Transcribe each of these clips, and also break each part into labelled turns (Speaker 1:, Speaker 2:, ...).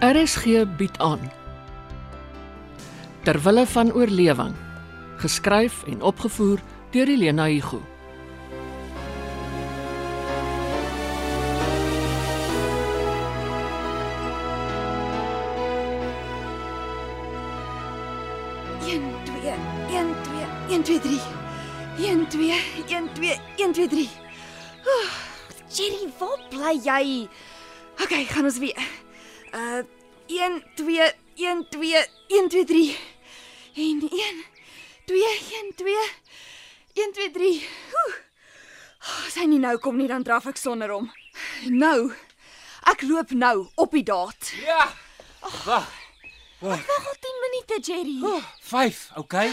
Speaker 1: RSG bied aan Terwille van oorlewing geskryf en opgevoer deur Elena Igu
Speaker 2: Een, twee, een, twee, een, twee, drie. Een, twee, een, twee, een, twee, drie. Oeh, Jerry, waar bly jy? OK, gaan ons weer. Uh 1 2 1 2 1 2 3 en 1 2 1 2 1 2 3. Oeh. As hy nie nou kom nie, dan draf ek sonder hom. Nou. Ek loop nou op die daad.
Speaker 3: Ja. Wag,
Speaker 2: Wag al 10 minute, Jerry. Oh.
Speaker 3: 5, okay?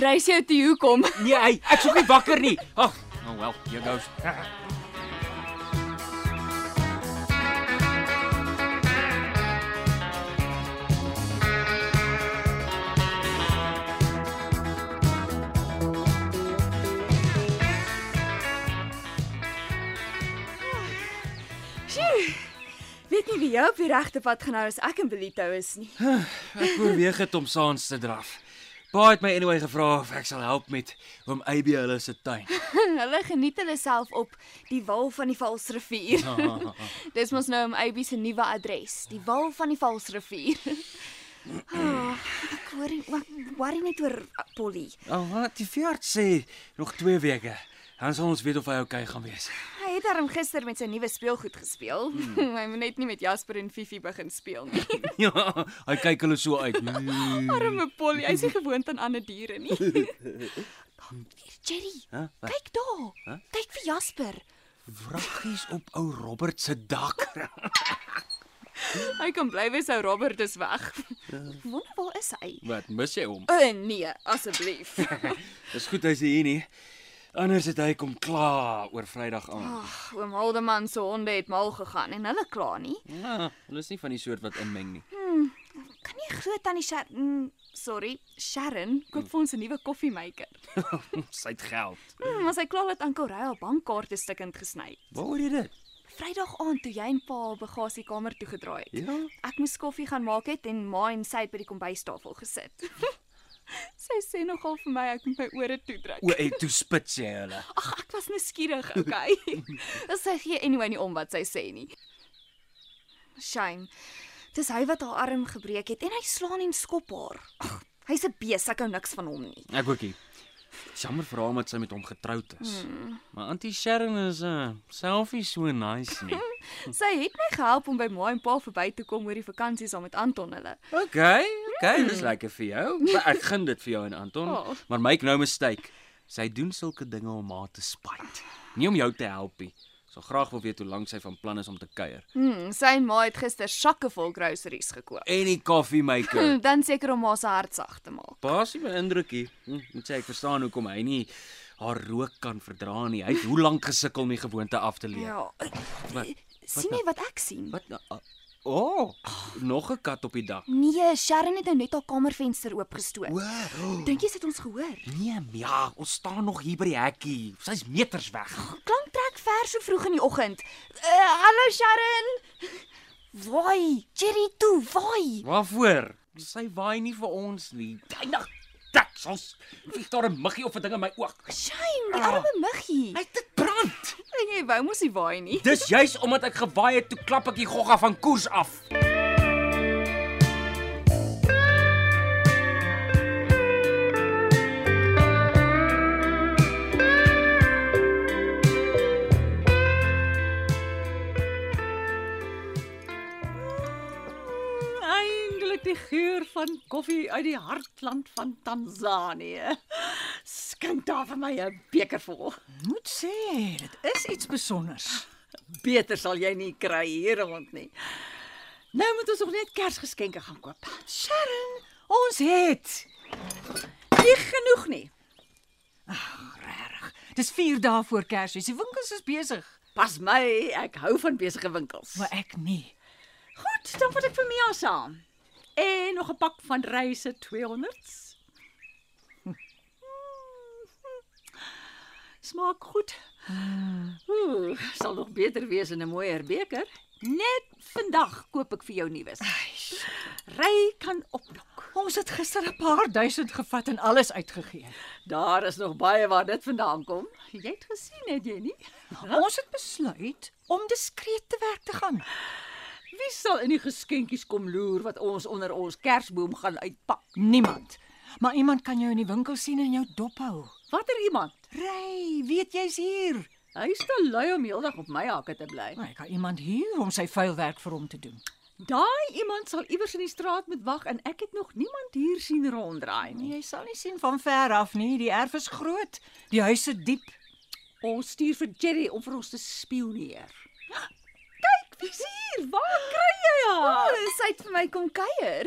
Speaker 2: Reis jou toe hoekom?
Speaker 3: Nee, hey, ek sou nie wakker nie. Ag, oh well, here goes.
Speaker 2: Sjoe. Weet nie wie jou op die regte pad genhou as ek in Belito is nie.
Speaker 3: Ek oorweeg dit om saans te draf. Pa het my anyway gevra of ek sal help met oom AB hulle se tuin.
Speaker 2: Hulle geniet hulle self op die wal van die Valsrivier. Dis mos nou om Abby se nuwe adres, die wal van die Valsrivier. Ah, ek hoor nie, ek worry net oor uh, Polly.
Speaker 3: Al Oh, wat die veerd sê, nog 2 weke. Dan sal ons weet of hy okay gaan wees.
Speaker 2: Hy het darm gister met sy nuwe speelgoed gespeel. Hmm. Hy moet net nie met Jasper en Fifi begin speel nie.
Speaker 3: Ja, hy kyk hulle so uit. Mm.
Speaker 2: Arme Polly, hy's nie gewoond aan ander diere nie. Jerry,
Speaker 3: Hæ? Wat?
Speaker 2: kyk daar. Kyk vir Jasper.
Speaker 3: Wraggies op ou Robert se dak.
Speaker 2: Hy kan bly wees ou Robert is weg. Wonder waar is hy?
Speaker 3: Wat mis jy hom?
Speaker 2: O uh, nee, asseblief.
Speaker 3: Dis goed hy's hier nie. Anders het hy kom kla oor Vrydag aand.
Speaker 2: Ag, oom Haldeman se honde het mal gegaan en hulle kla nie.
Speaker 3: Ja, hulle is nie van die soort wat inmeng nie.
Speaker 2: Kan nie glo tannie Sharon, sorry, Sharon koop vir ons 'n nuwe koffiemaker.
Speaker 3: Sy het geld.
Speaker 2: Hmm, as hy klaar het aan Correa bankkaarte stukkend gesny.
Speaker 3: Waar hoor jy dit?
Speaker 2: Vrydag aand toe jy en pa haar bagasiekamer toe gedraai het.
Speaker 3: Ja.
Speaker 2: Ek moes koffie gaan maak het en ma en sy het by die kombuistafel gesit. sy sê nogal vir my ek moet my ore toedruk.
Speaker 3: O, en toe spits jy hulle.
Speaker 2: Ag, ek was nou skieurig, okay. Dis sy gee anyway nie om wat sy sê nie. Shame. Dis hy wat haar arm gebreek het en hy slaan en skop haar. Ag, hy's 'n bees, ek hou niks van hom nie.
Speaker 3: Ek ookie. Jammer vir haar dat sy met hom getroud is. Mm. Maar Auntie Sharon is 'n uh, selfie so nice nie.
Speaker 2: Sy het my gehelp om by ma en pa verby te kom oor die vakansie saam met Anton hulle.
Speaker 3: Okay, okay, dis lekker vir jou. Maar ek gun dit vir jou en Anton.
Speaker 2: Oh.
Speaker 3: Maar make no mistake, sy doen sulke dinge om haar te spyt. Nie om jou te help nie. Sou graag wil weet hoe lank sy van plan is om te kuier.
Speaker 2: Hmm, sy en ma het gister sakke vol groceries gekoop.
Speaker 3: En die koffie maker.
Speaker 2: Hmm, dan seker om ma se hart sag te maak.
Speaker 3: Basie my indrukkie. Hm, Moet sê ek verstaan hoekom hy nie haar rook kan verdra nie. Hy het hoe lank gesukkel om die gewoonte af te leer.
Speaker 2: Ja. eh,
Speaker 3: Wat?
Speaker 2: Sien jy wat ek sien?
Speaker 3: Wat nou? O, oh, nog 'n kat op die dak.
Speaker 2: Nee, Sharon het nou net haar kamervenster oopgestoot.
Speaker 3: Wow.
Speaker 2: Dink jy dit ons gehoor?
Speaker 3: Nee, ja, ons staan nog hier by die hekkie. Sy's meters weg.
Speaker 2: Klank trek ver so vroeg in die oggend. Uh, hallo Sharon. Waai, Jerry toe, waai.
Speaker 3: Waarvoor? Sy waai nie vir ons nie. Eindig dik. Ons vlieg daar 'n muggie of 'n ding in my oog.
Speaker 2: Shame, die arme muggie.
Speaker 3: Hy nou, dit brand.
Speaker 2: Ah. Jy wou mos nie waai nie.
Speaker 3: Dis juis omdat ek gewaai het, toe klap ek die gogga van koers af.
Speaker 4: Eindelik die geur van koffie uit die hartland van Tansanië. Skink daar vir my 'n beker vol.
Speaker 5: Moet sê, dit is iets spesiaals.
Speaker 4: Beter sal jy nie kry hier rond nie. Nou moet ons nog net Kersgeskenke gaan koop.
Speaker 5: Sharon, ons het
Speaker 4: Nie genoeg nie.
Speaker 5: regtig. Dis 4 dae voor Kersfees. Die winkels is besig,
Speaker 4: Pas my, ek hou van besige winkels.
Speaker 5: maar ek nie.
Speaker 4: Goed, dan vat ek vir Mia saam. En nog 'n pak van reise 200s. Smaak goed. Ah. Ooh, sal nog beter wees in 'n mooier beker. Net vandag koop ek vir jou nuus. Ry kan opdok.
Speaker 5: Ons het gister 'n paar duisend gevat en alles uitgegee.
Speaker 4: Daar is nog baie waar dit vandaan kom. Jy het gesien, het jy nie?
Speaker 5: Ons het besluit om diskreet te werk te gaan.
Speaker 4: Wie sal in die geskenkies kom loer wat ons onder ons kersboom gaan uitpak?
Speaker 5: Niemand. Maar iemand kan jou in die winkel sien en jou dop hou.
Speaker 4: Watter iemand?
Speaker 5: Ry, weet jy's hier.
Speaker 4: Hy is te lui om heeldag op my hakke te bly.
Speaker 5: Maar ek kan iemand huur om sy vuil werk vir hom te doen.
Speaker 4: Daai iemand sal iewers in die straat moet wag en ek het nog niemand hier sien ronddraai nie.
Speaker 5: Jy sal nie sien van ver af nie, die erf is groot, die huise diep.
Speaker 4: Ons stuur vir Jerry om vir ons te spioneer. Kyk, wie's hier? Waar kry jy haar?
Speaker 2: Oh, sy het vir my kom kuier.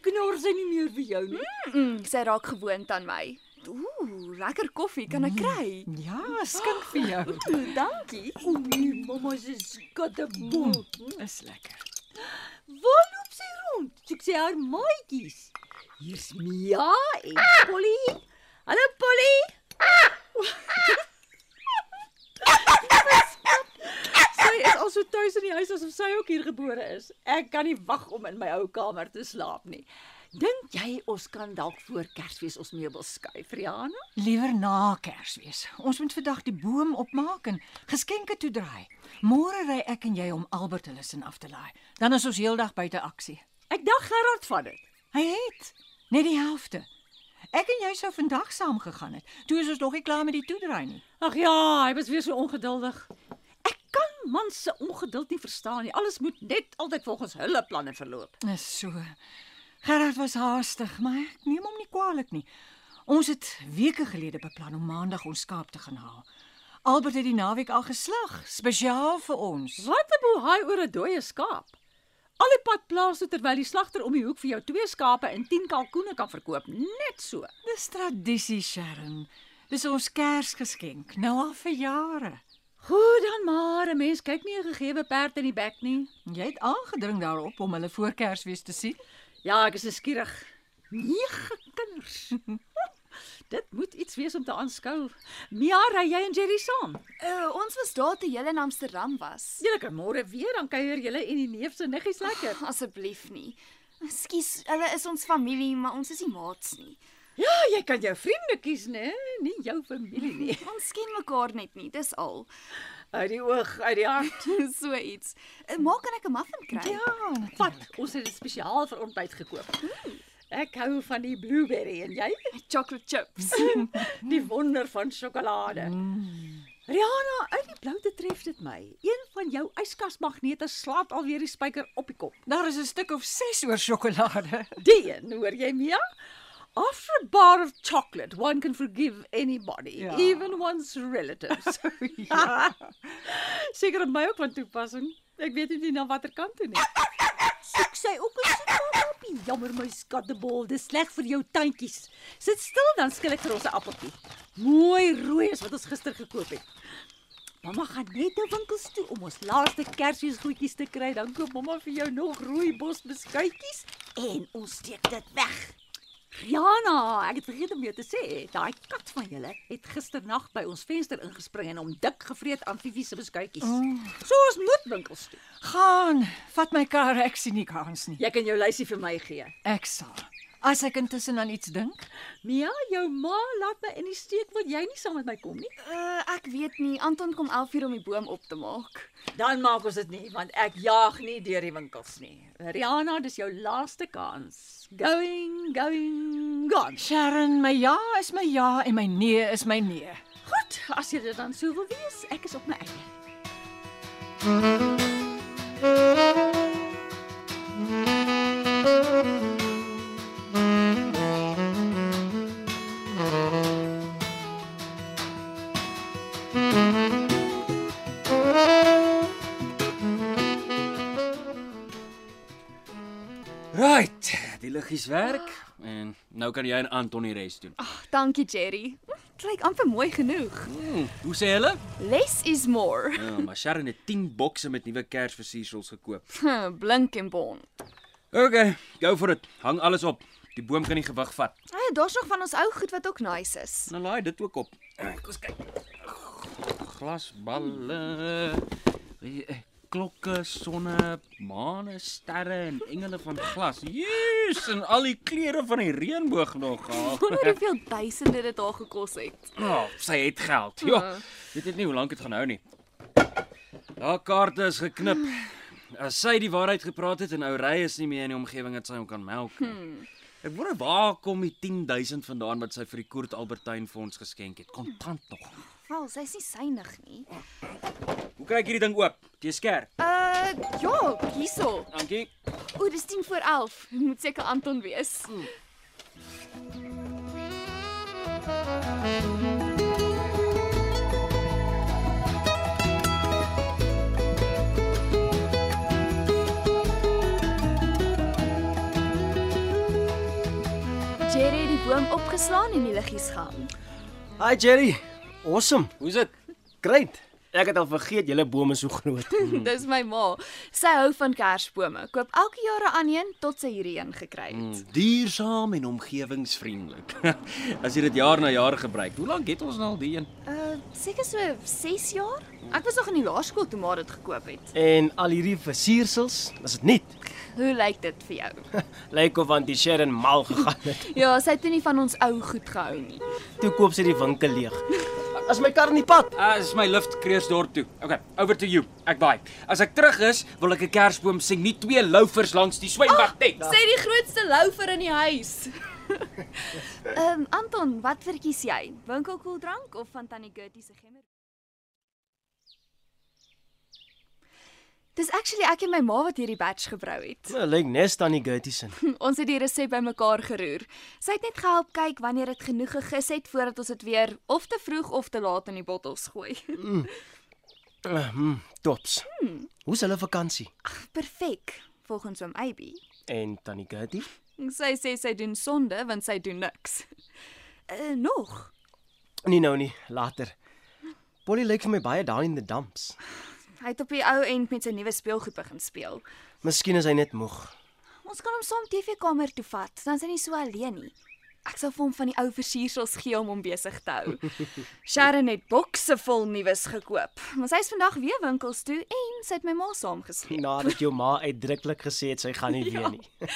Speaker 4: Knor sy nie meer vir jou nie.
Speaker 2: Mm, sy raak gewoond aan my. Ooh, lekker koffie kan ek kry.
Speaker 5: Ja, skink vir jou.
Speaker 2: Ooh, dankie.
Speaker 4: O nee, mamma se skatteboel.
Speaker 5: Is lekker.
Speaker 4: Waar loop sy rond? Soek sy haar maatjies. Hier's Mia en Polly. Hallo Polly. Sy is al so tuis in die huis asof sy ook hier gebore is. Ek kan nie wag om in my ou kamer te slaap nie. Dink jy ons kan dalk voor Kersfees ons meubels skuif, Rihanna?
Speaker 5: Liewer na Kersfees. Ons moet vandag die boom opmaak en geskenke toedraai. Môre ry ek en jy om Albert hulle sin af te laai. Dan is ons heeldag buite aksie.
Speaker 4: Ek dacht Gerard van dit.
Speaker 5: Hy het net die helfte. Ek en jy sou vandag saam gegaan het. Toe is ons nog nie klaar met die toedraai nie.
Speaker 4: Ag ja, hy was weer so ongeduldig. Ek kan man se ongeduld nie verstaan nie. Alles moet net altyd volgens hulle planne verloop.
Speaker 5: Dis so. Gerard was haastig, maar ek neem hom nie kwaadlik nie. Ons het weke gelede beplan om maandag ons skaap te gaan haal. Albert het die naweek al geslag, spesiaal vir ons.
Speaker 4: Wat 'n bohaai oor 'n dooie skaap. Al die pad plaas toe terwyl die slagter om die hoek vir jou twee skape en 10 kalkoene kan verkoop, net so.
Speaker 5: Dis tradisie, Sharon. Dis ons Kersgeskenk, nou al vir jare.
Speaker 4: Goed dan maar, 'n mens kyk nie 'n gegewe perd in die bek nie.
Speaker 5: Jy het aangedring daarop om hulle voor Kersfees te sien.
Speaker 4: Ja, ek is nuuskierig. Nege kinders. Dit moet iets wees om te aanskou. Mia, ry jy en Jerry saam?
Speaker 2: Uh, ons was daar toe jy in Amsterdam was.
Speaker 4: Julle kan môre weer dan kuier julle en die neef se niggies lekker.
Speaker 2: Ja. Asseblief nie. Ekskuus, hulle is ons familie, maar ons is nie maats nie.
Speaker 4: Ja, jy kan jou vriende kies, né? Nie jou familie nie.
Speaker 2: Ons ken mekaar net nie, dis al.
Speaker 4: Uit die oog, uit die hart.
Speaker 2: so iets. Uh, maak kan ek 'n muffin kry?
Speaker 5: Ja,
Speaker 4: Vat, ons het dit spesiaal vir ontbyt gekoop. Ek hou van die blueberry en jy?
Speaker 2: Chocolate chips.
Speaker 4: Die wonder van sjokolade. Hmm. Rihanna, uit die bloute tref dit my. Een van jou yskasmagnete slaat alweer die spyker op die kop.
Speaker 5: daar is 'n stuk of 6 oor sjokolade.
Speaker 4: Die een, hoor jy Mia? After a bar of chocolate, one can forgive anybody,
Speaker 5: Ja.
Speaker 4: ja. even one's relatives. ja. Seker op my ook van toepassing. Ek weet nie na watter kant toe nie. Soek sy ook 'n skappie. Jammer my skattebol, dis sleg vir jou tandjies. Sit stil dan skil ek vir ons 'n appeltjie. Mooi rooi is wat ons gister gekoop het. Mamma gaan net na winkels toe om ons laaste Kersfeesgoedjies te kry. Dan koop mamma vir jou nog rooibos beskuitjies en ons steek dit weg. Rihanna, ek het vergeet om jou te sê, daai kat van julle het gisternag by ons venster ingespring en hom dik gevreet aan Fifi se beskuitjies. Oh. So ons moet winkels toe.
Speaker 5: Gaan, vat my kar, ek sien nie kans nie.
Speaker 4: Jy kan jou lysie vir my gee.
Speaker 5: Ek sal. As ek intussen aan iets dink,
Speaker 4: Mia, jou ma laat my in die steek want jy nie saam met my kom nie.
Speaker 2: Uh, ek weet nie, Anton kom 11:00 om die boom op te maak.
Speaker 4: Dan maak ons dit nie want ek jaag nie deur die winkels nie. Rihanna, dis jou laaste kans. Going, going, gone.
Speaker 5: Sharon, my ja is my ja en my nee is my nee.
Speaker 4: Goed, as jy dit dan sou wil wees, ek is op my eie.
Speaker 3: Right, die liggies werk en nou kan jy en Anton die res doen.
Speaker 2: Ag, dankie Jerry. Dit lyk amper mooi genoeg.
Speaker 3: Mm, hoe sê hulle?
Speaker 2: Less is more.
Speaker 3: Ja, maar Sharon het 10 bokse met nuwe Kersversiersels gekoop.
Speaker 2: Blink en bond.
Speaker 3: Okay, go for it. Hang alles op. Die boom kan nie gewig vat.
Speaker 2: Ah ja, Hey, daar's nog van ons ou goed wat ook nice is.
Speaker 3: Nou laai dit ook op. Kom ons kyk. glasballe, eh, eh, klokke, sonne, maane, sterre en engele van glas. Jesus, en al die kleure van die reënboog nog. ah.
Speaker 2: Wonder hoeveel duisende dit haar gekos het.
Speaker 3: Ja, oh, sy het geld. Ja. Weet net nie hoe lank dit gaan hou nie. Haar kaarte is geknip. As sy die waarheid gepraat het en Ourey is nie meer in die omgewing dat sy hom kan melk nie. Ek wonder waar kom die 10000 vandaan wat sy vir die Koert Albertyn Fonds geskenk het. Kontant nog.
Speaker 2: Wel, sy's nie synig nie.
Speaker 3: Hoe kry ek hierdie ding oop? Jy skerp.
Speaker 2: Uh ja, hierso.
Speaker 3: Dankie.
Speaker 2: O, dis 10 voor 11. Moet seker Anton wees. Jerry het die boom opgeslaan en die liggies gehang.
Speaker 6: Hi Jerry. Awesome.
Speaker 3: Hoe's dit?
Speaker 6: Great. Ek het al vergeet julle boom is so groot.
Speaker 2: Dis my ma. Sy hou van kersbome. Koop elke jaar 'n aaneen tot sy hierdie een gekry het.
Speaker 3: Duursaam en omgewingsvriendelik. As jy dit jaar na jaar gebruik. Hoe lank het ons nou al die een?
Speaker 2: Uh seker so 6 jaar? Ek was nog in die laerskool toe maar dit gekoop het.
Speaker 6: En al hierdie versiersels, is dit net.
Speaker 2: Hoe lyk dit vir jou?
Speaker 6: Lyk of want die Sharon mal gegaan het.
Speaker 2: Ja, sy het toe nie van ons ou goed gehou nie.
Speaker 6: Toe koop sy die winkel leeg. As my kar in die pad.
Speaker 3: Ah, dis my lift Kreeusdorp toe. Okay, over to you. Ek baai. As ek terug is, wil ek 'n kersboom sien, nie twee loufers langs die swembad tent.
Speaker 2: Sy die grootste loufer in die huis. Ehm um, Anton, wat verkies jy? Winkelkoeldrank of van Tannie Gertie se gemmer? Dis actually ek en my ma wat hierdie batch gebrou het.
Speaker 6: Nou lyk nes tannie Gertie se.
Speaker 2: Ons het die resep bymekaar geroer. Sy het net gehelp kyk wanneer dit genoeg gegis het voordat ons dit weer of te vroeg of te laat in die bottels gooi.
Speaker 6: Mm, tops. Hoe's hulle vakansie?
Speaker 2: Perfek, volgens oom Abby.
Speaker 6: En tannie Gertie?
Speaker 2: Sy sê sy doen sonde want sy doen niks. Uh, nog.
Speaker 6: Nee nou nie, later. Polly lyk vir my baie down in the dumps.
Speaker 2: Hy het op die ou end met sy nuwe speelgoed begin speel.
Speaker 6: Miskien is hy net moeg.
Speaker 2: Ons kan hom saam TV-kamer toe vat, dan is hy nie so alleen nie. Ek sal vir hom van die ou versiersels gee om hom besig te hou. Sharon het bokse vol nuus gekoop, maar sy is vandag weer winkels toe en sy het my ma saamgesleep.
Speaker 6: Nadat jou ma uitdruklik gesê het sy gaan nie weer nie.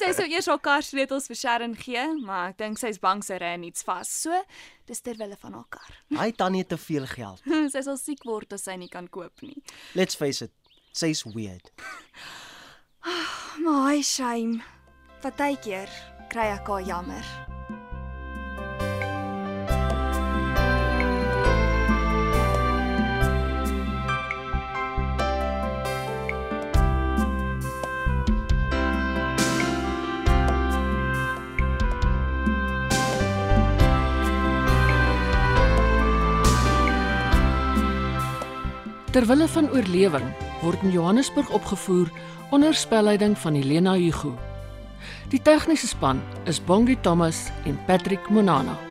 Speaker 2: Sy sou eers haar kar sleutels vir Sharon gee, maar ek dink sy's bang sy ry in iets vas. So, dis ter wille van haar kar.
Speaker 6: Hy tannie het te veel geld.
Speaker 2: Sy sal siek word as sy nie kan koop nie.
Speaker 6: Let's face it. Sy's weird.
Speaker 2: Maar hy shame. Partykeer kry ek haar jammer.
Speaker 1: Terwille van oorlewing word in Johannesburg opgevoer onder spelleiding van Helena Hugo. Die tegniese span is Bongi Thomas en Patrick Monana.